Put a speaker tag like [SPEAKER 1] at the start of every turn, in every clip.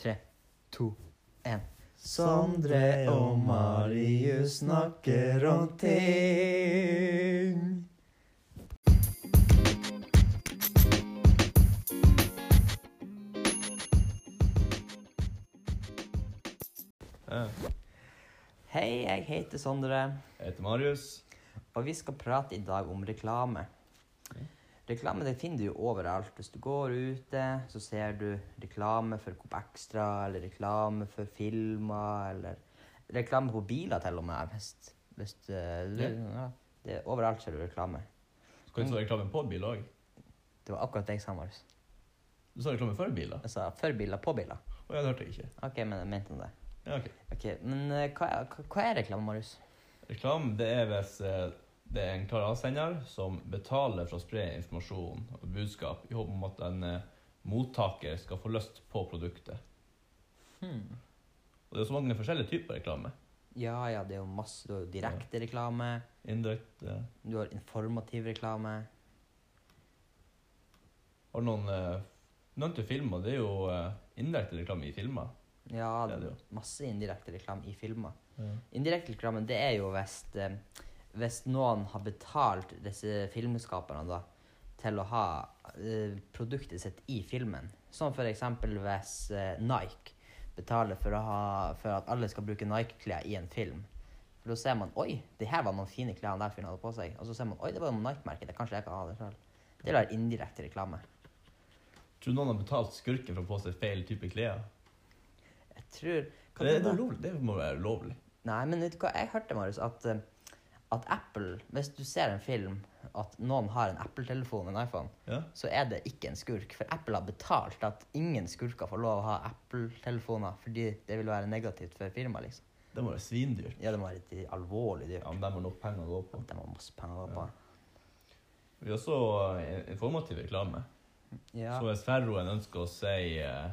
[SPEAKER 1] Tre, to, én. Sondre og Marius snakker om ting.
[SPEAKER 2] Jeg
[SPEAKER 1] Hei, jeg heter Sondre,
[SPEAKER 2] heter Marius.
[SPEAKER 1] og vi skal prate i dag om reklame. Reklame det finner du jo overalt. Hvis du går ute, så ser du reklame for Coop Extra, eller reklame for filmer, eller reklame på biler til og med. Hvis, hvis eh, du, ja, det, overalt ser du reklame.
[SPEAKER 2] Skal du ta reklame på bil òg?
[SPEAKER 1] Det var akkurat det jeg sa, Marius.
[SPEAKER 2] Du sa reklame for biler.
[SPEAKER 1] Jeg sa for biler, på biler.
[SPEAKER 2] Å ja, det hørte jeg ikke.
[SPEAKER 1] OK, men jeg mente det.
[SPEAKER 2] Ja, ok.
[SPEAKER 1] Ok, Men eh, hva, er- hva- hva er reklame, Marius?
[SPEAKER 2] Reklame det er hvis eh, det er en klar avsender som betaler for å spre informasjon og budskap i håp om at en eh, mottaker skal få lyst på produktet. Og det er så mange forskjellige typer reklame.
[SPEAKER 1] Ja ja, det er jo masse. Du har jo direkte reklame.
[SPEAKER 2] Indirekte
[SPEAKER 1] Du har informativ reklame.
[SPEAKER 2] Har du noen eh, nevnte filmer? Det er jo eh, indirekte reklame i filmer.
[SPEAKER 1] Ja,
[SPEAKER 2] Det er det jo.
[SPEAKER 1] masse indirekte reklame i filmer.
[SPEAKER 2] Ja.
[SPEAKER 1] Indirekte reklame, det er jo hvis eh, Hvis noen har betalt disse filmskaperne da, til å ha eh, produktet sitt i filmen. Som for eksempel hvis eh, Nike betaler for, å ha, for at alle skal bruke Nike-klær i en film. For da ser man Oi, det her var noen fine klær han der fyren hadde på seg. Og så ser man Oi, det var noe Nike-merke. det Kanskje jeg kan ha det selv. Det er da indirekte reklame.
[SPEAKER 2] Tror du noen har betalt skurken for å få seg feil type klær?
[SPEAKER 1] Jeg tror Hva tror
[SPEAKER 2] Det, det,
[SPEAKER 1] du?
[SPEAKER 2] er ulovlig. det må være ulovlig.
[SPEAKER 1] Nei, men vet du hva? Jeg hørte, Marius, at, eh, at Apple Hvis du ser en film at noen har en Apple-telefon, en iPhone,
[SPEAKER 2] Ja.
[SPEAKER 1] så er det ikke en skurk. For Apple har betalt at ingen skurker får lov å ha Apple-telefoner, fordi det vil være negativt for firmaet, liksom.
[SPEAKER 2] Det må være svindyrt.
[SPEAKER 1] Ja, det må være litt alvorlig dyrt.
[SPEAKER 2] Ja, men de har nok penger å gå på.
[SPEAKER 1] De har masse penger å gå på.
[SPEAKER 2] Vi har også eh, informativ reklame.
[SPEAKER 1] Ja.
[SPEAKER 2] Så hvis Ferroen ønsker å si eh,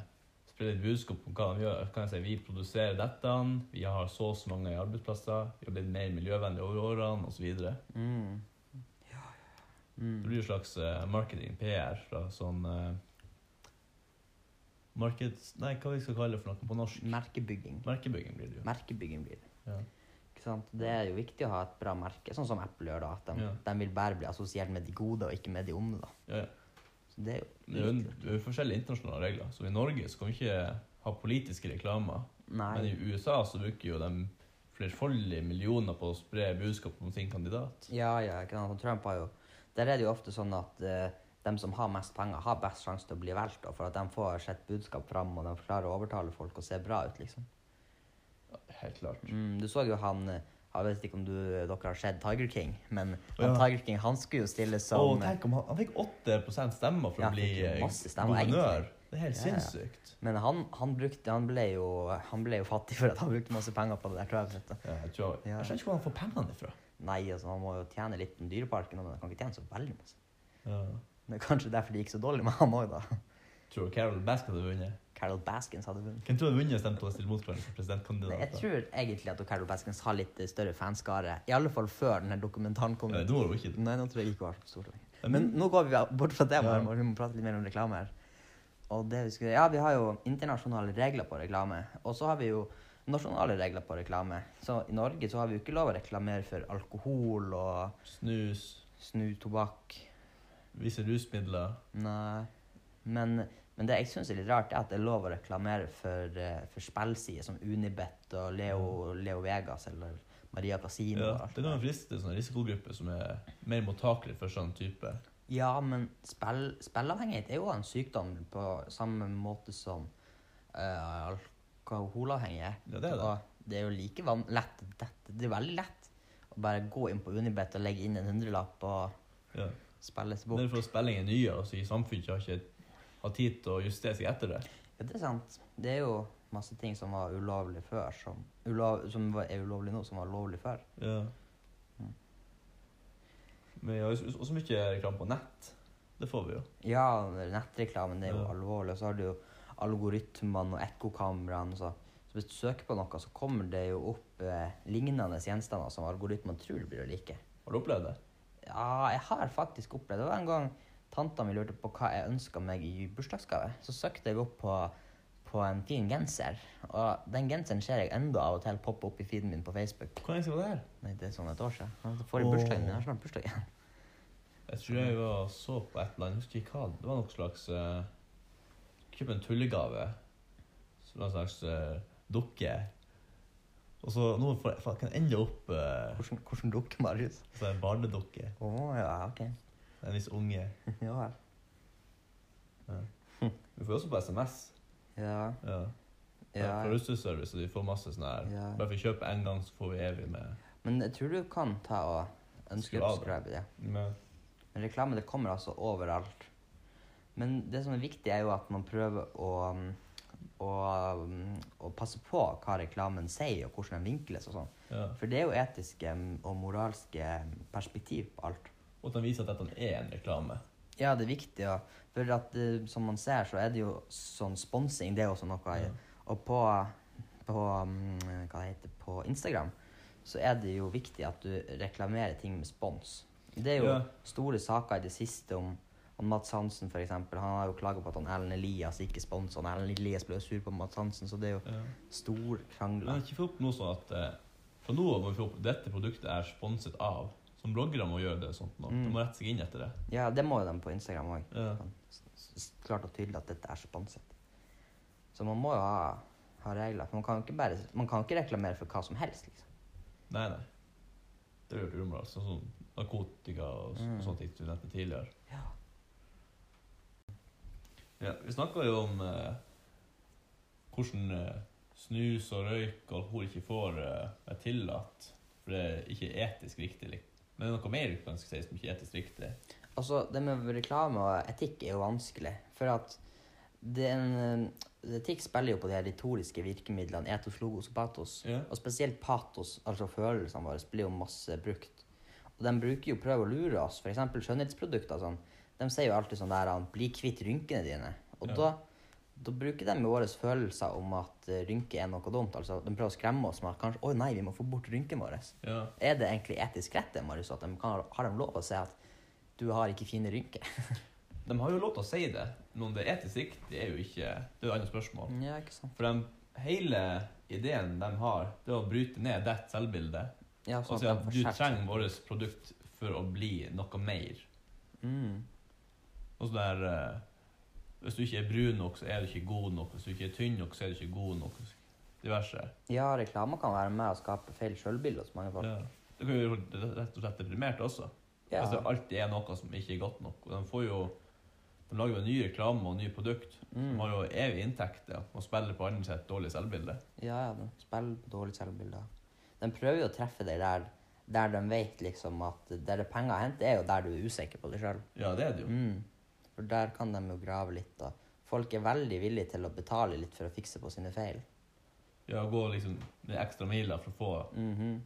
[SPEAKER 2] spre litt budskap om hva de gjør, kan jeg si vi produserer dette, vi har så og så mange arbeidsplasser, vi har blitt mer miljøvennlige over årene, osv. Det
[SPEAKER 1] Mm. Mm.
[SPEAKER 2] blir en slags eh, marketing PR fra sånn eh, Markeds... Nei, hva vi skal kalle det for noe på norsk?
[SPEAKER 1] Merkebygging.
[SPEAKER 2] Merkebygging blir det jo.
[SPEAKER 1] Merkebygging blir det.
[SPEAKER 2] Ja.
[SPEAKER 1] Ikke sant? Det er jo viktig å ha et bra merke, sånn som Apple gjør, da. At de,
[SPEAKER 2] Ja.
[SPEAKER 1] de vil bare bli assosiert med de gode, og ikke med de onde, da.
[SPEAKER 2] Ja, ja.
[SPEAKER 1] Så det er jo
[SPEAKER 2] Det er jo det er jo forskjellige internasjonale regler. Så i Norge så kan vi ikke ha politiske reklamer. Men
[SPEAKER 1] Nei.
[SPEAKER 2] i USA så bruker jo de flerfoldige millioner på å spre budskap om sin kandidat.
[SPEAKER 1] Ja, ja, ikke sant. Og Trump har jo Der er det jo ofte sånn at eh, dem som har mest penger, har best sjanse til å bli valgt, da, for at de får sitt budskap fram, og de klarer å overtale folk og se bra ut, liksom.
[SPEAKER 2] Helt klart.
[SPEAKER 1] Mm, du så jo han eh, Jeg vet ikke om du, dere har sett Tiger King, men
[SPEAKER 2] Ja.
[SPEAKER 1] han, Tiger King han skulle jo stille
[SPEAKER 2] Og
[SPEAKER 1] som eh,
[SPEAKER 2] tenk om han, han fikk 8 stemmer for
[SPEAKER 1] Ja,
[SPEAKER 2] å
[SPEAKER 1] han
[SPEAKER 2] bli
[SPEAKER 1] fikk
[SPEAKER 2] eh,
[SPEAKER 1] masse stemmer,
[SPEAKER 2] guvernør. Det er
[SPEAKER 1] Ja,
[SPEAKER 2] helt
[SPEAKER 1] ja.
[SPEAKER 2] sinnssykt.
[SPEAKER 1] Men han, han brukte Han ble jo Han ble jo fattig for at han brukte masse penger på det der travsettet.
[SPEAKER 2] Ja, jeg, tror,
[SPEAKER 1] Ja.
[SPEAKER 2] jeg skjønner ikke hvor han får pengene ifra.
[SPEAKER 1] Nei, altså, han må jo tjene litt på Dyreparken, men han kan ikke tjene så veldig masse.
[SPEAKER 2] Ja.
[SPEAKER 1] Det er kanskje derfor det gikk så dårlig med han òg, da.
[SPEAKER 2] Tror du Carol Baskin hadde vunnet?
[SPEAKER 1] Carol Baskins hadde vunnet.
[SPEAKER 2] Hvem tror du hadde vunnet stemt til å stille mot hverandre som
[SPEAKER 1] Nei, Jeg
[SPEAKER 2] presidentkandidat? da?
[SPEAKER 1] tror egentlig at Carol Baskins har litt eh, større fanskare. I alle fall før denne dokumentaren kom
[SPEAKER 2] Ja,
[SPEAKER 1] ut.
[SPEAKER 2] nå var det jo ikke det.
[SPEAKER 1] Nei, nå tror jeg ikke hun har så stor lenger.
[SPEAKER 2] Ja,
[SPEAKER 1] Men
[SPEAKER 2] men-
[SPEAKER 1] nå går vi bort fra det,
[SPEAKER 2] Ja.
[SPEAKER 1] bare, vi må prate litt mer om reklame her. Og det vi skulle, ja, vi har jo internasjonale regler på reklame. Og så har vi jo nasjonale regler på reklame. Så i Norge så har vi jo ikke lov å reklamere for alkohol og
[SPEAKER 2] Snus,
[SPEAKER 1] snutobakk.
[SPEAKER 2] visse rusmidler.
[SPEAKER 1] Nei. Men, men det jeg syns er litt rart, er at det er lov å reklamere for, eh, for spillsider som Unibet og Leo, Leo Vegas eller Maria Casino.
[SPEAKER 2] Ja,
[SPEAKER 1] og alt
[SPEAKER 2] det
[SPEAKER 1] det
[SPEAKER 2] kan
[SPEAKER 1] der.
[SPEAKER 2] jo friste sånne risikogrupper som er mer mottakelige for sånn type.
[SPEAKER 1] ja, men spill, spillavhengighet er jo en sykdom på samme måte som eh, alkoholavhengighet.
[SPEAKER 2] Ja, det er det.
[SPEAKER 1] Og det er jo like van lett det, det er veldig lett å bare gå inn på Unibet og legge inn en hundrelapp og
[SPEAKER 2] Ja.
[SPEAKER 1] spille seg
[SPEAKER 2] Det
[SPEAKER 1] bort.
[SPEAKER 2] er for at spilling er nyere, og så i samfunnet har ikke har tid til å justere seg etter det.
[SPEAKER 1] Ja, det er sant. Det er jo masse ting som var ulovlig før, som, ulov, som var- er ulovlig nå, som var lovlig før.
[SPEAKER 2] Ja. Men ja, også også mye reklame på nett. Det får vi jo.
[SPEAKER 1] Ja, nettreklamen det er jo
[SPEAKER 2] Ja.
[SPEAKER 1] alvorlig. Og så har du jo algoritmene og ekkokameraene. Så. så hvis du søker på noe, så kommer det jo opp eh, lignende gjenstander som algoritmene tror blir å like.
[SPEAKER 2] Har du opplevd det?
[SPEAKER 1] Ja, jeg har faktisk opplevd det. Det var en gang tanta mi lurte på hva jeg ønska meg i bursdagsgave. Så søkte jeg opp på, på på en fin genser. Og den genseren ser jeg enda av og til poppe opp i feeden min på Facebook.
[SPEAKER 2] Hvor lenge siden var det her?
[SPEAKER 1] Nei, det er sånn et år siden. Han får i
[SPEAKER 2] Åh.
[SPEAKER 1] bursdagen min. Jeg har snart bursdag igjen.
[SPEAKER 2] Jeg tror jeg var så på et eller annet, jeg husker ikke hva. Det var noe slags uh, Kjøp en tullegave. Som var en slags eh, dukke. Og så nå får jeg faen, kan jeg ende opp eh,
[SPEAKER 1] Hvordan, hvordan dukker Marius?
[SPEAKER 2] som en barnedukke.
[SPEAKER 1] Å ja, OK.
[SPEAKER 2] En viss unge.
[SPEAKER 1] Ja vel.
[SPEAKER 2] Du får jo også på SMS.
[SPEAKER 1] Ja.
[SPEAKER 2] Ja.
[SPEAKER 1] ja.
[SPEAKER 2] Fra Russeservice, og de får masse sånn her.
[SPEAKER 1] Ja.
[SPEAKER 2] Bare for å kjøpe en gang, så får vi evig med,
[SPEAKER 1] Men jeg tror du kan ta og
[SPEAKER 2] Skru av det.
[SPEAKER 1] unsubscribe det.
[SPEAKER 2] med
[SPEAKER 1] Men reklame det kommer altså overalt. Men det som er viktig, er jo at man prøver å, um, å, um, å passe på hva reklamen sier, og hvordan den vinkles og sånn.
[SPEAKER 2] ja.
[SPEAKER 1] For det er jo etiske um, og moralske um, perspektiv på alt.
[SPEAKER 2] Og at de viser at dette er en reklame.
[SPEAKER 1] Ja, det er viktig. Og for at, eh, som man ser, så er det jo sånn sponsing. Det er jo også noe.
[SPEAKER 2] Ja.
[SPEAKER 1] Og på, på mm, Hva det heter På Instagram så er det jo viktig at du reklamerer ting med spons. Det er jo
[SPEAKER 2] Ja.
[SPEAKER 1] store saker i det siste om om Mads Hansen, for eksempel. Han har jo klaga på at han Ellen Elias ikke sponser han. Ellen Elias ble jo sur på Mads Hansen, så det er jo
[SPEAKER 2] Ja.
[SPEAKER 1] stor
[SPEAKER 2] Men jeg
[SPEAKER 1] krangler.
[SPEAKER 2] har ikke fått opp noe sånn at eh, fra nå av må vi få opp dette produktet er sponset av. Som bloggere må gjøre det. sånt nå.
[SPEAKER 1] Mm.
[SPEAKER 2] De må rette seg inn etter det.
[SPEAKER 1] Ja, det må jo de på Instagram òg.
[SPEAKER 2] Ja.
[SPEAKER 1] klart og tydelig at dette er sponset. Så man må jo ha, ha regler. For man kan jo ikke, bare, man kan jo ikke reklamere for hva som helst. liksom.
[SPEAKER 2] Nei, nei. Det blir jo umoralsk. Sånn som narkotika og
[SPEAKER 1] Mm.
[SPEAKER 2] mm. sånt ting du nevnte tidligere.
[SPEAKER 1] Ja.
[SPEAKER 2] Ja, vi snakka jo om eh, hvordan eh, snus og røyk og alkohol ikke får eh, være tillatt. For det er ikke etisk riktig. lik- Men det er noe mer du kan si som ikke er etisk riktig.
[SPEAKER 1] Altså, det med reklame og etikk er jo vanskelig. For at det er en, eh, etikk spiller jo på de her retoriske virkemidlene etos, logos og patos.
[SPEAKER 2] Ja.
[SPEAKER 1] Og spesielt patos, altså følelsene våre, blir jo masse brukt. Og de bruker jo prøve å lure oss. F.eks. skjønnhetsprodukter. Sånn. De sier jo alltid sånn der han, 'bli kvitt rynkene dine'. Og
[SPEAKER 2] Ja.
[SPEAKER 1] da, da bruker de jo våre følelser om at eh, rynker er noe dumt. altså De prøver å skremme oss med at kanskje 'å nei, vi må få bort rynkene våre'.
[SPEAKER 2] Ja.
[SPEAKER 1] Er det egentlig etisk rett det, Marius, at de kan, har de lov å si at 'du har ikke fine rynker'?
[SPEAKER 2] De har jo lov til å si det, men om det er etisk riktig, er jo ikke Det er jo et annet spørsmål.
[SPEAKER 1] Ja, ikke sant.
[SPEAKER 2] For de, hele ideen de har, det er å bryte ned ditt selvbilde.
[SPEAKER 1] Ja,
[SPEAKER 2] Og
[SPEAKER 1] sånn
[SPEAKER 2] si
[SPEAKER 1] at
[SPEAKER 2] at
[SPEAKER 1] de får
[SPEAKER 2] du
[SPEAKER 1] skjerpt seg.
[SPEAKER 2] trenger vårt produkt for å bli noe mer.
[SPEAKER 1] Mm.
[SPEAKER 2] Og sånn der eh, Hvis du ikke er brun nok, så er du ikke god nok. Hvis du ikke er tynn nok, så er du ikke god nok. Diverse.
[SPEAKER 1] Ja, reklame kan være med å skape feil sjølbilde hos mange folk.
[SPEAKER 2] Ja. Du kan jo bli rett og slett deprimert også.
[SPEAKER 1] Ja.
[SPEAKER 2] Hvis det alltid er noe som ikke er godt nok. Og de får jo De lager jo ny reklame og nye produkt. De
[SPEAKER 1] Mm.
[SPEAKER 2] har jo evig inntekter og spiller på andre sitt dårlige selvbilde.
[SPEAKER 1] Ja, ja, de spiller på dårlig selvbilde. De prøver jo å treffe deg der, der de vet liksom at der det er penger å hente, er jo der du er usikker på deg sjøl.
[SPEAKER 2] Ja, det er det jo.
[SPEAKER 1] Mm. For der kan de jo grave litt, da. Folk er veldig villige til å betale litt for å fikse på sine feil.
[SPEAKER 2] Ja, å gå liksom den ekstra mila for å få
[SPEAKER 1] Mhm.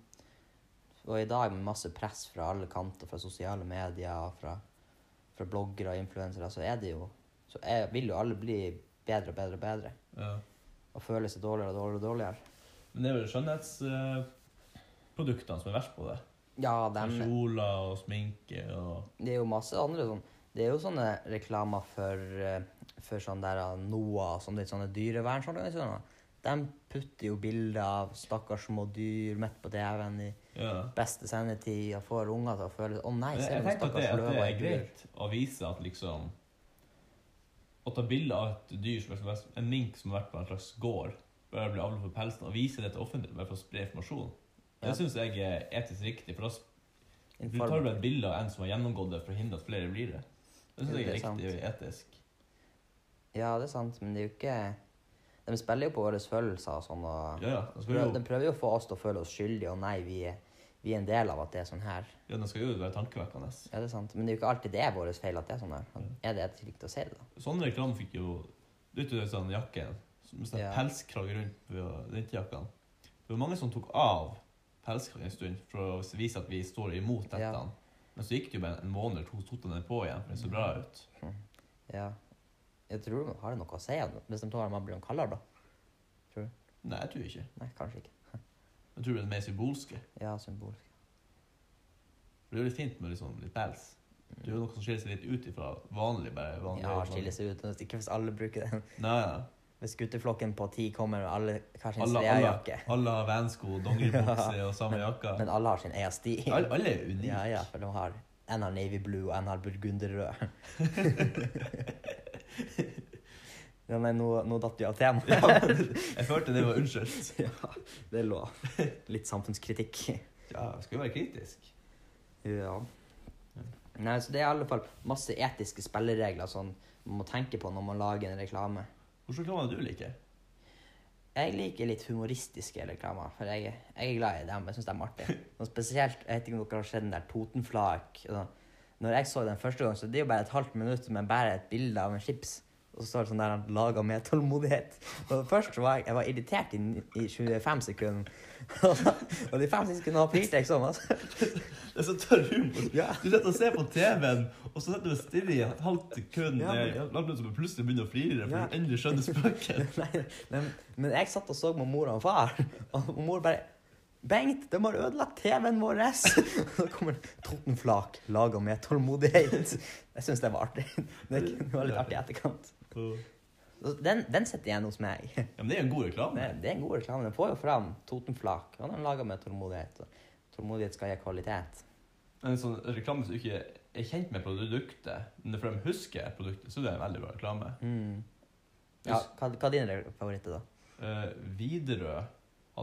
[SPEAKER 1] Og i dag med masse press fra alle kanter, fra sosiale medier og fra, fra bloggere og influensere, så er det jo Så er, vil jo alle bli bedre og bedre og bedre.
[SPEAKER 2] ja.
[SPEAKER 1] Og føle seg dårligere og dårligere og dårligere.
[SPEAKER 2] Men det er vel skjønnhetsproduktene som er verst på det.
[SPEAKER 1] Ja,
[SPEAKER 2] Sånn
[SPEAKER 1] dem,
[SPEAKER 2] Kjoler og sminke og
[SPEAKER 1] det er jo masse andre sånn Det er jo sånne reklamer for, eh, for sånn der ah, NOAH og sånne, sånne dyrevernsorganisasjoner. De putter jo bilder av stakkars små dyr midt på TV-en i
[SPEAKER 2] ja.
[SPEAKER 1] beste sendetid og får unger til å føle Å nei,
[SPEAKER 2] Men
[SPEAKER 1] se
[SPEAKER 2] jeg
[SPEAKER 1] den
[SPEAKER 2] tenker at det,
[SPEAKER 1] stakkars
[SPEAKER 2] at det
[SPEAKER 1] løva i
[SPEAKER 2] er
[SPEAKER 1] bur.
[SPEAKER 2] greit å vise at liksom Å ta bilde av et dyr som er en mink som har vært på en slags gård, bare blir avlet på pelsen, og vise det til offentligheten bare for å spre informasjon.
[SPEAKER 1] Ja.
[SPEAKER 2] Det syns jeg er etisk riktig, for da sp- du
[SPEAKER 1] Inform-
[SPEAKER 2] tar du bare et bilde av en som har gjennomgått det, for å hindre at flere blir det. Det syns
[SPEAKER 1] Det
[SPEAKER 2] jeg er
[SPEAKER 1] er sant.
[SPEAKER 2] riktig og etisk.
[SPEAKER 1] Ja, det er sant, men det er jo ikke De spiller jo på våre følelser og sånn. Og
[SPEAKER 2] Ja, ja. De skal
[SPEAKER 1] prøver,
[SPEAKER 2] jo,
[SPEAKER 1] de prøver jo å få oss til å føle oss skyldige, og nei, vi er, vi er en del av at det er sånn her.
[SPEAKER 2] ja, de skal jo være tankevekkende.
[SPEAKER 1] Ja, det er sant, Men det er jo ikke alltid det er vår feil at det er sånn her. Er det etisk riktig å si det, da?
[SPEAKER 2] Sånne reklamer fikk jo Du vet jo den sånn jakken med sånn
[SPEAKER 1] Ja.
[SPEAKER 2] pelskrage rundt på vinterjakkene. Det var mange som tok av pelskragen en stund for å vise at vi står imot dette.
[SPEAKER 1] Ja.
[SPEAKER 2] Men så gikk det jo bare en måned eller to, så tok de den på igjen, for den så bra ut.
[SPEAKER 1] Ja. Jeg tror de har det noe å si at hvis de tar man blir kaldere, da.
[SPEAKER 2] Nei, jeg tror ikke.
[SPEAKER 1] Nei, kanskje ikke.
[SPEAKER 2] Jeg tror det er mer symbolske.
[SPEAKER 1] Ja, symbolsk.
[SPEAKER 2] For det er jo litt fint med liksom litt pels. Det er jo noe som skiller seg litt ut ifra vanlig, bare vanlig.
[SPEAKER 1] Ja, skille seg ut. men Ikke hvis alle bruker den.
[SPEAKER 2] Nei, ja.
[SPEAKER 1] Hvis gutteflokken på ti kommer med alle hver sin
[SPEAKER 2] Alle, alle,
[SPEAKER 1] jakke
[SPEAKER 2] alle har vansko, dongeribukse og samme jakka.
[SPEAKER 1] Men alle har sin egen stil.
[SPEAKER 2] Alle, alle er unike.
[SPEAKER 1] Ja, ja, for de har en har navy blue, og en har burgunderrød. ja, nei, nå, nå datt vi av temaet.
[SPEAKER 2] Jeg følte det var unnskyldt.
[SPEAKER 1] ja, det er lov. Litt samfunnskritikk.
[SPEAKER 2] Ja, jeg skal jo være kritisk.
[SPEAKER 1] Ja. Nei, så det er i alle fall masse etiske spilleregler som man må tenke på når man lager en reklame.
[SPEAKER 2] Hvilken reklame du liker?
[SPEAKER 1] Jeg liker litt humoristiske reklamer, for jeg, jeg er glad i dem. Jeg syns de er artige. Og spesielt, jeg vet ikke om dere har sett den der Totenflak. og sånn. Når jeg så den første gang, så det er jo bare et halvt minutt med bare et bilde av en chips. Og så står det sånn der han laga med tålmodighet. Og først så var jeg, jeg var irritert i, ni- i 25 sekunder. og de fem siste sekundene flirte jeg sånn, altså.
[SPEAKER 2] Det er så tørr humor.
[SPEAKER 1] Ja.
[SPEAKER 2] Du sitter og ser på TV-en, og så sitter du og stirrer i et halvt sekund.
[SPEAKER 1] Ja,
[SPEAKER 2] Ja,
[SPEAKER 1] men-
[SPEAKER 2] men... som plutselig begynner å flire, for
[SPEAKER 1] Ja.
[SPEAKER 2] du endelig skjønner spøken.
[SPEAKER 1] Nei, men, men jeg satt og så med mor og far, og mor bare Bengt, de har ødelagt TV-en vår! Og så kommer Totenflak laga med tålmodighet. Jeg syns det var artig. Det kunne- det var litt artig i etterkant.
[SPEAKER 2] Så-
[SPEAKER 1] Så Den, den sitter igjen hos meg. Det,
[SPEAKER 2] Ja, men det er jo en god reklame.
[SPEAKER 1] det er en god reklame. Den får jo fram Totenflak, og den er laga med tålmodighet. Og tålmodighet skal gi kvalitet.
[SPEAKER 2] En sånn reklame som ikke er kjent med produktet, men det er fordi de husker produktet, så det er en veldig bra reklame.
[SPEAKER 1] Mm. Ja, hva, hva er dine favoritter, da?
[SPEAKER 2] Eh, Widerøe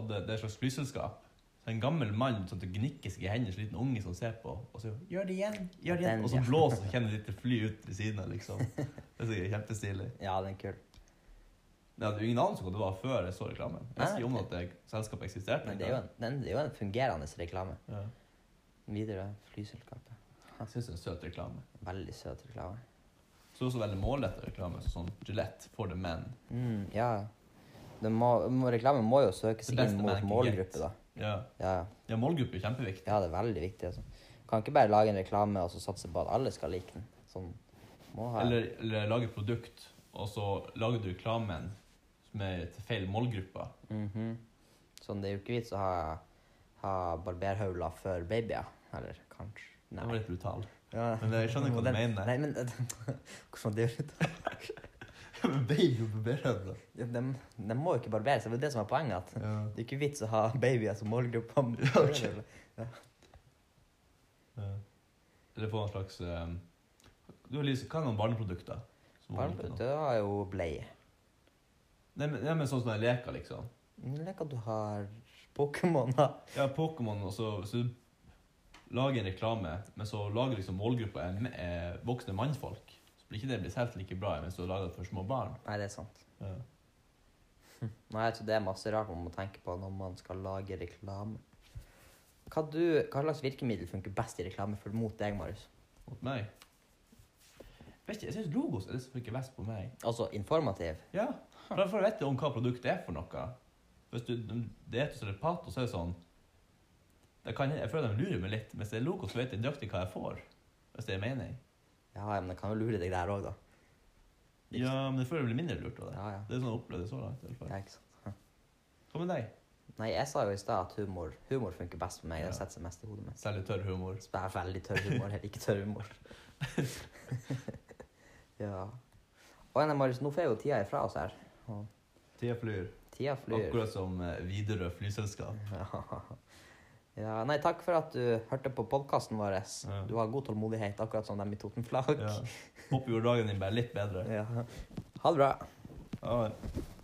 [SPEAKER 2] hadde det er et slags flyselskap. Så en gammel mann som gnikker seg i hendene, så en liten unge som ser på, og så 'Gjør det igjen! Gjør det igjen!'
[SPEAKER 1] Den,
[SPEAKER 2] Og så
[SPEAKER 1] ja.
[SPEAKER 2] blåser, så kjenner du litt fly ut ved siden av, liksom. Det er sikkert kjempestilig.
[SPEAKER 1] Ja, den er kul.
[SPEAKER 2] Jeg hadde jo ingen anelse om hva det var før jeg så reklamen. Jeg visste ikke om at det selskapet eksisterte.
[SPEAKER 1] Men det er jo en, den, det er jo en fungerende reklame.
[SPEAKER 2] Ja.
[SPEAKER 1] Videre flyselskapet.
[SPEAKER 2] Jeg syns det er en søt reklame.
[SPEAKER 1] Veldig søt reklame.
[SPEAKER 2] Så det er også veldig målrettet reklame, sånn Gillette for the men.
[SPEAKER 1] Mm, ja. Det må, må, reklame må jo søkes
[SPEAKER 2] Det
[SPEAKER 1] inn
[SPEAKER 2] beste
[SPEAKER 1] mot
[SPEAKER 2] merket
[SPEAKER 1] målgruppe,
[SPEAKER 2] gets.
[SPEAKER 1] da.
[SPEAKER 2] Ja,
[SPEAKER 1] Ja, ja.
[SPEAKER 2] ja målgruppe er kjempeviktig.
[SPEAKER 1] ja, det er veldig viktig. Altså. Kan ikke bare lage en reklame og så satse på at alle skal like den. Sånn. Må ha
[SPEAKER 2] Eller, eller lage et produkt, og så lager du reklamen som er til feil målgruppe.
[SPEAKER 1] Mhm. Sånn, det er jo ikke vits å ha, ha barberhauler for babyer. Eller kanskje
[SPEAKER 2] Det var
[SPEAKER 1] Nei.
[SPEAKER 2] litt brutal.
[SPEAKER 1] Ja.
[SPEAKER 2] Men jeg skjønner hva du
[SPEAKER 1] Den-
[SPEAKER 2] mener.
[SPEAKER 1] Nei, men hvordan det gjør det?
[SPEAKER 2] Men baby og barberhøvler.
[SPEAKER 1] De, de må jo ikke barbere seg. Det er det som er poenget. at
[SPEAKER 2] Ja.
[SPEAKER 1] Det er ikke vits å ha babyer som målgruppe.
[SPEAKER 2] ok. Eller få en slags ehm, Du Elise, hva er noen barneprodukter? som man liker nå?
[SPEAKER 1] Barberhauler, Du har jo bleie.
[SPEAKER 2] Nei, men, nei, men sånn som jeg leker, liksom.
[SPEAKER 1] Lek at du har Pokémon, da.
[SPEAKER 2] Ja, Pokémon, og så Hvis du lager en reklame, men så lager liksom målgruppa er, me- er voksne mannfolk, så blir ikke det blitt helt like bra mens du lager det for små barn.
[SPEAKER 1] Nei, det er sant.
[SPEAKER 2] Ja.
[SPEAKER 1] Nei, jeg tror det er masse rart man må tenke på når man skal lage reklame. Hva, du, hva slags virkemiddel funker best i reklame for mot deg, Marius?
[SPEAKER 2] Mot meg. Vet ikke, jeg syns logos er det som funker best på meg.
[SPEAKER 1] Altså informativ?
[SPEAKER 2] Ja, for da får du vite om hva produktet er for noe. Hvis du, det er et større pato, så er det sånn det kan, Jeg føler de lurer meg litt. Hvis det er logo, så vet jeg nøyaktig hva jeg får. Hvis det er mening.
[SPEAKER 1] Ja, ja, men jeg kan jo lure deg der òg, da.
[SPEAKER 2] Ja, men jeg føler jeg blir mindre lurt av det.
[SPEAKER 1] Ja, ja.
[SPEAKER 2] Det er sånn jeg opplever det så langt. i hvert fall.
[SPEAKER 1] ja ikke sant.
[SPEAKER 2] Hva med deg?
[SPEAKER 1] Nei, jeg sa jo i stad at humor, humor funker best for meg.
[SPEAKER 2] Ja.
[SPEAKER 1] Det setter seg mest i hodet mitt.
[SPEAKER 2] Særlig tørr humor.
[SPEAKER 1] Så jeg er veldig tørr humor. Jeg liker tørr humor. ja. Og nei, Marius, nå får jeg jo tida ifra oss her.
[SPEAKER 2] Tida flyr.
[SPEAKER 1] Tida flyr.
[SPEAKER 2] Akkurat som eh, Widerøe flyselskap.
[SPEAKER 1] Ja. ja. Nei, takk for at du hørte på podkasten vår.
[SPEAKER 2] Ja.
[SPEAKER 1] Du har god tålmodighet, akkurat som dem i Totenflak.
[SPEAKER 2] Ja. Håper jo dagen din ble litt bedre.
[SPEAKER 1] Ja. Ha det bra.
[SPEAKER 2] Ja.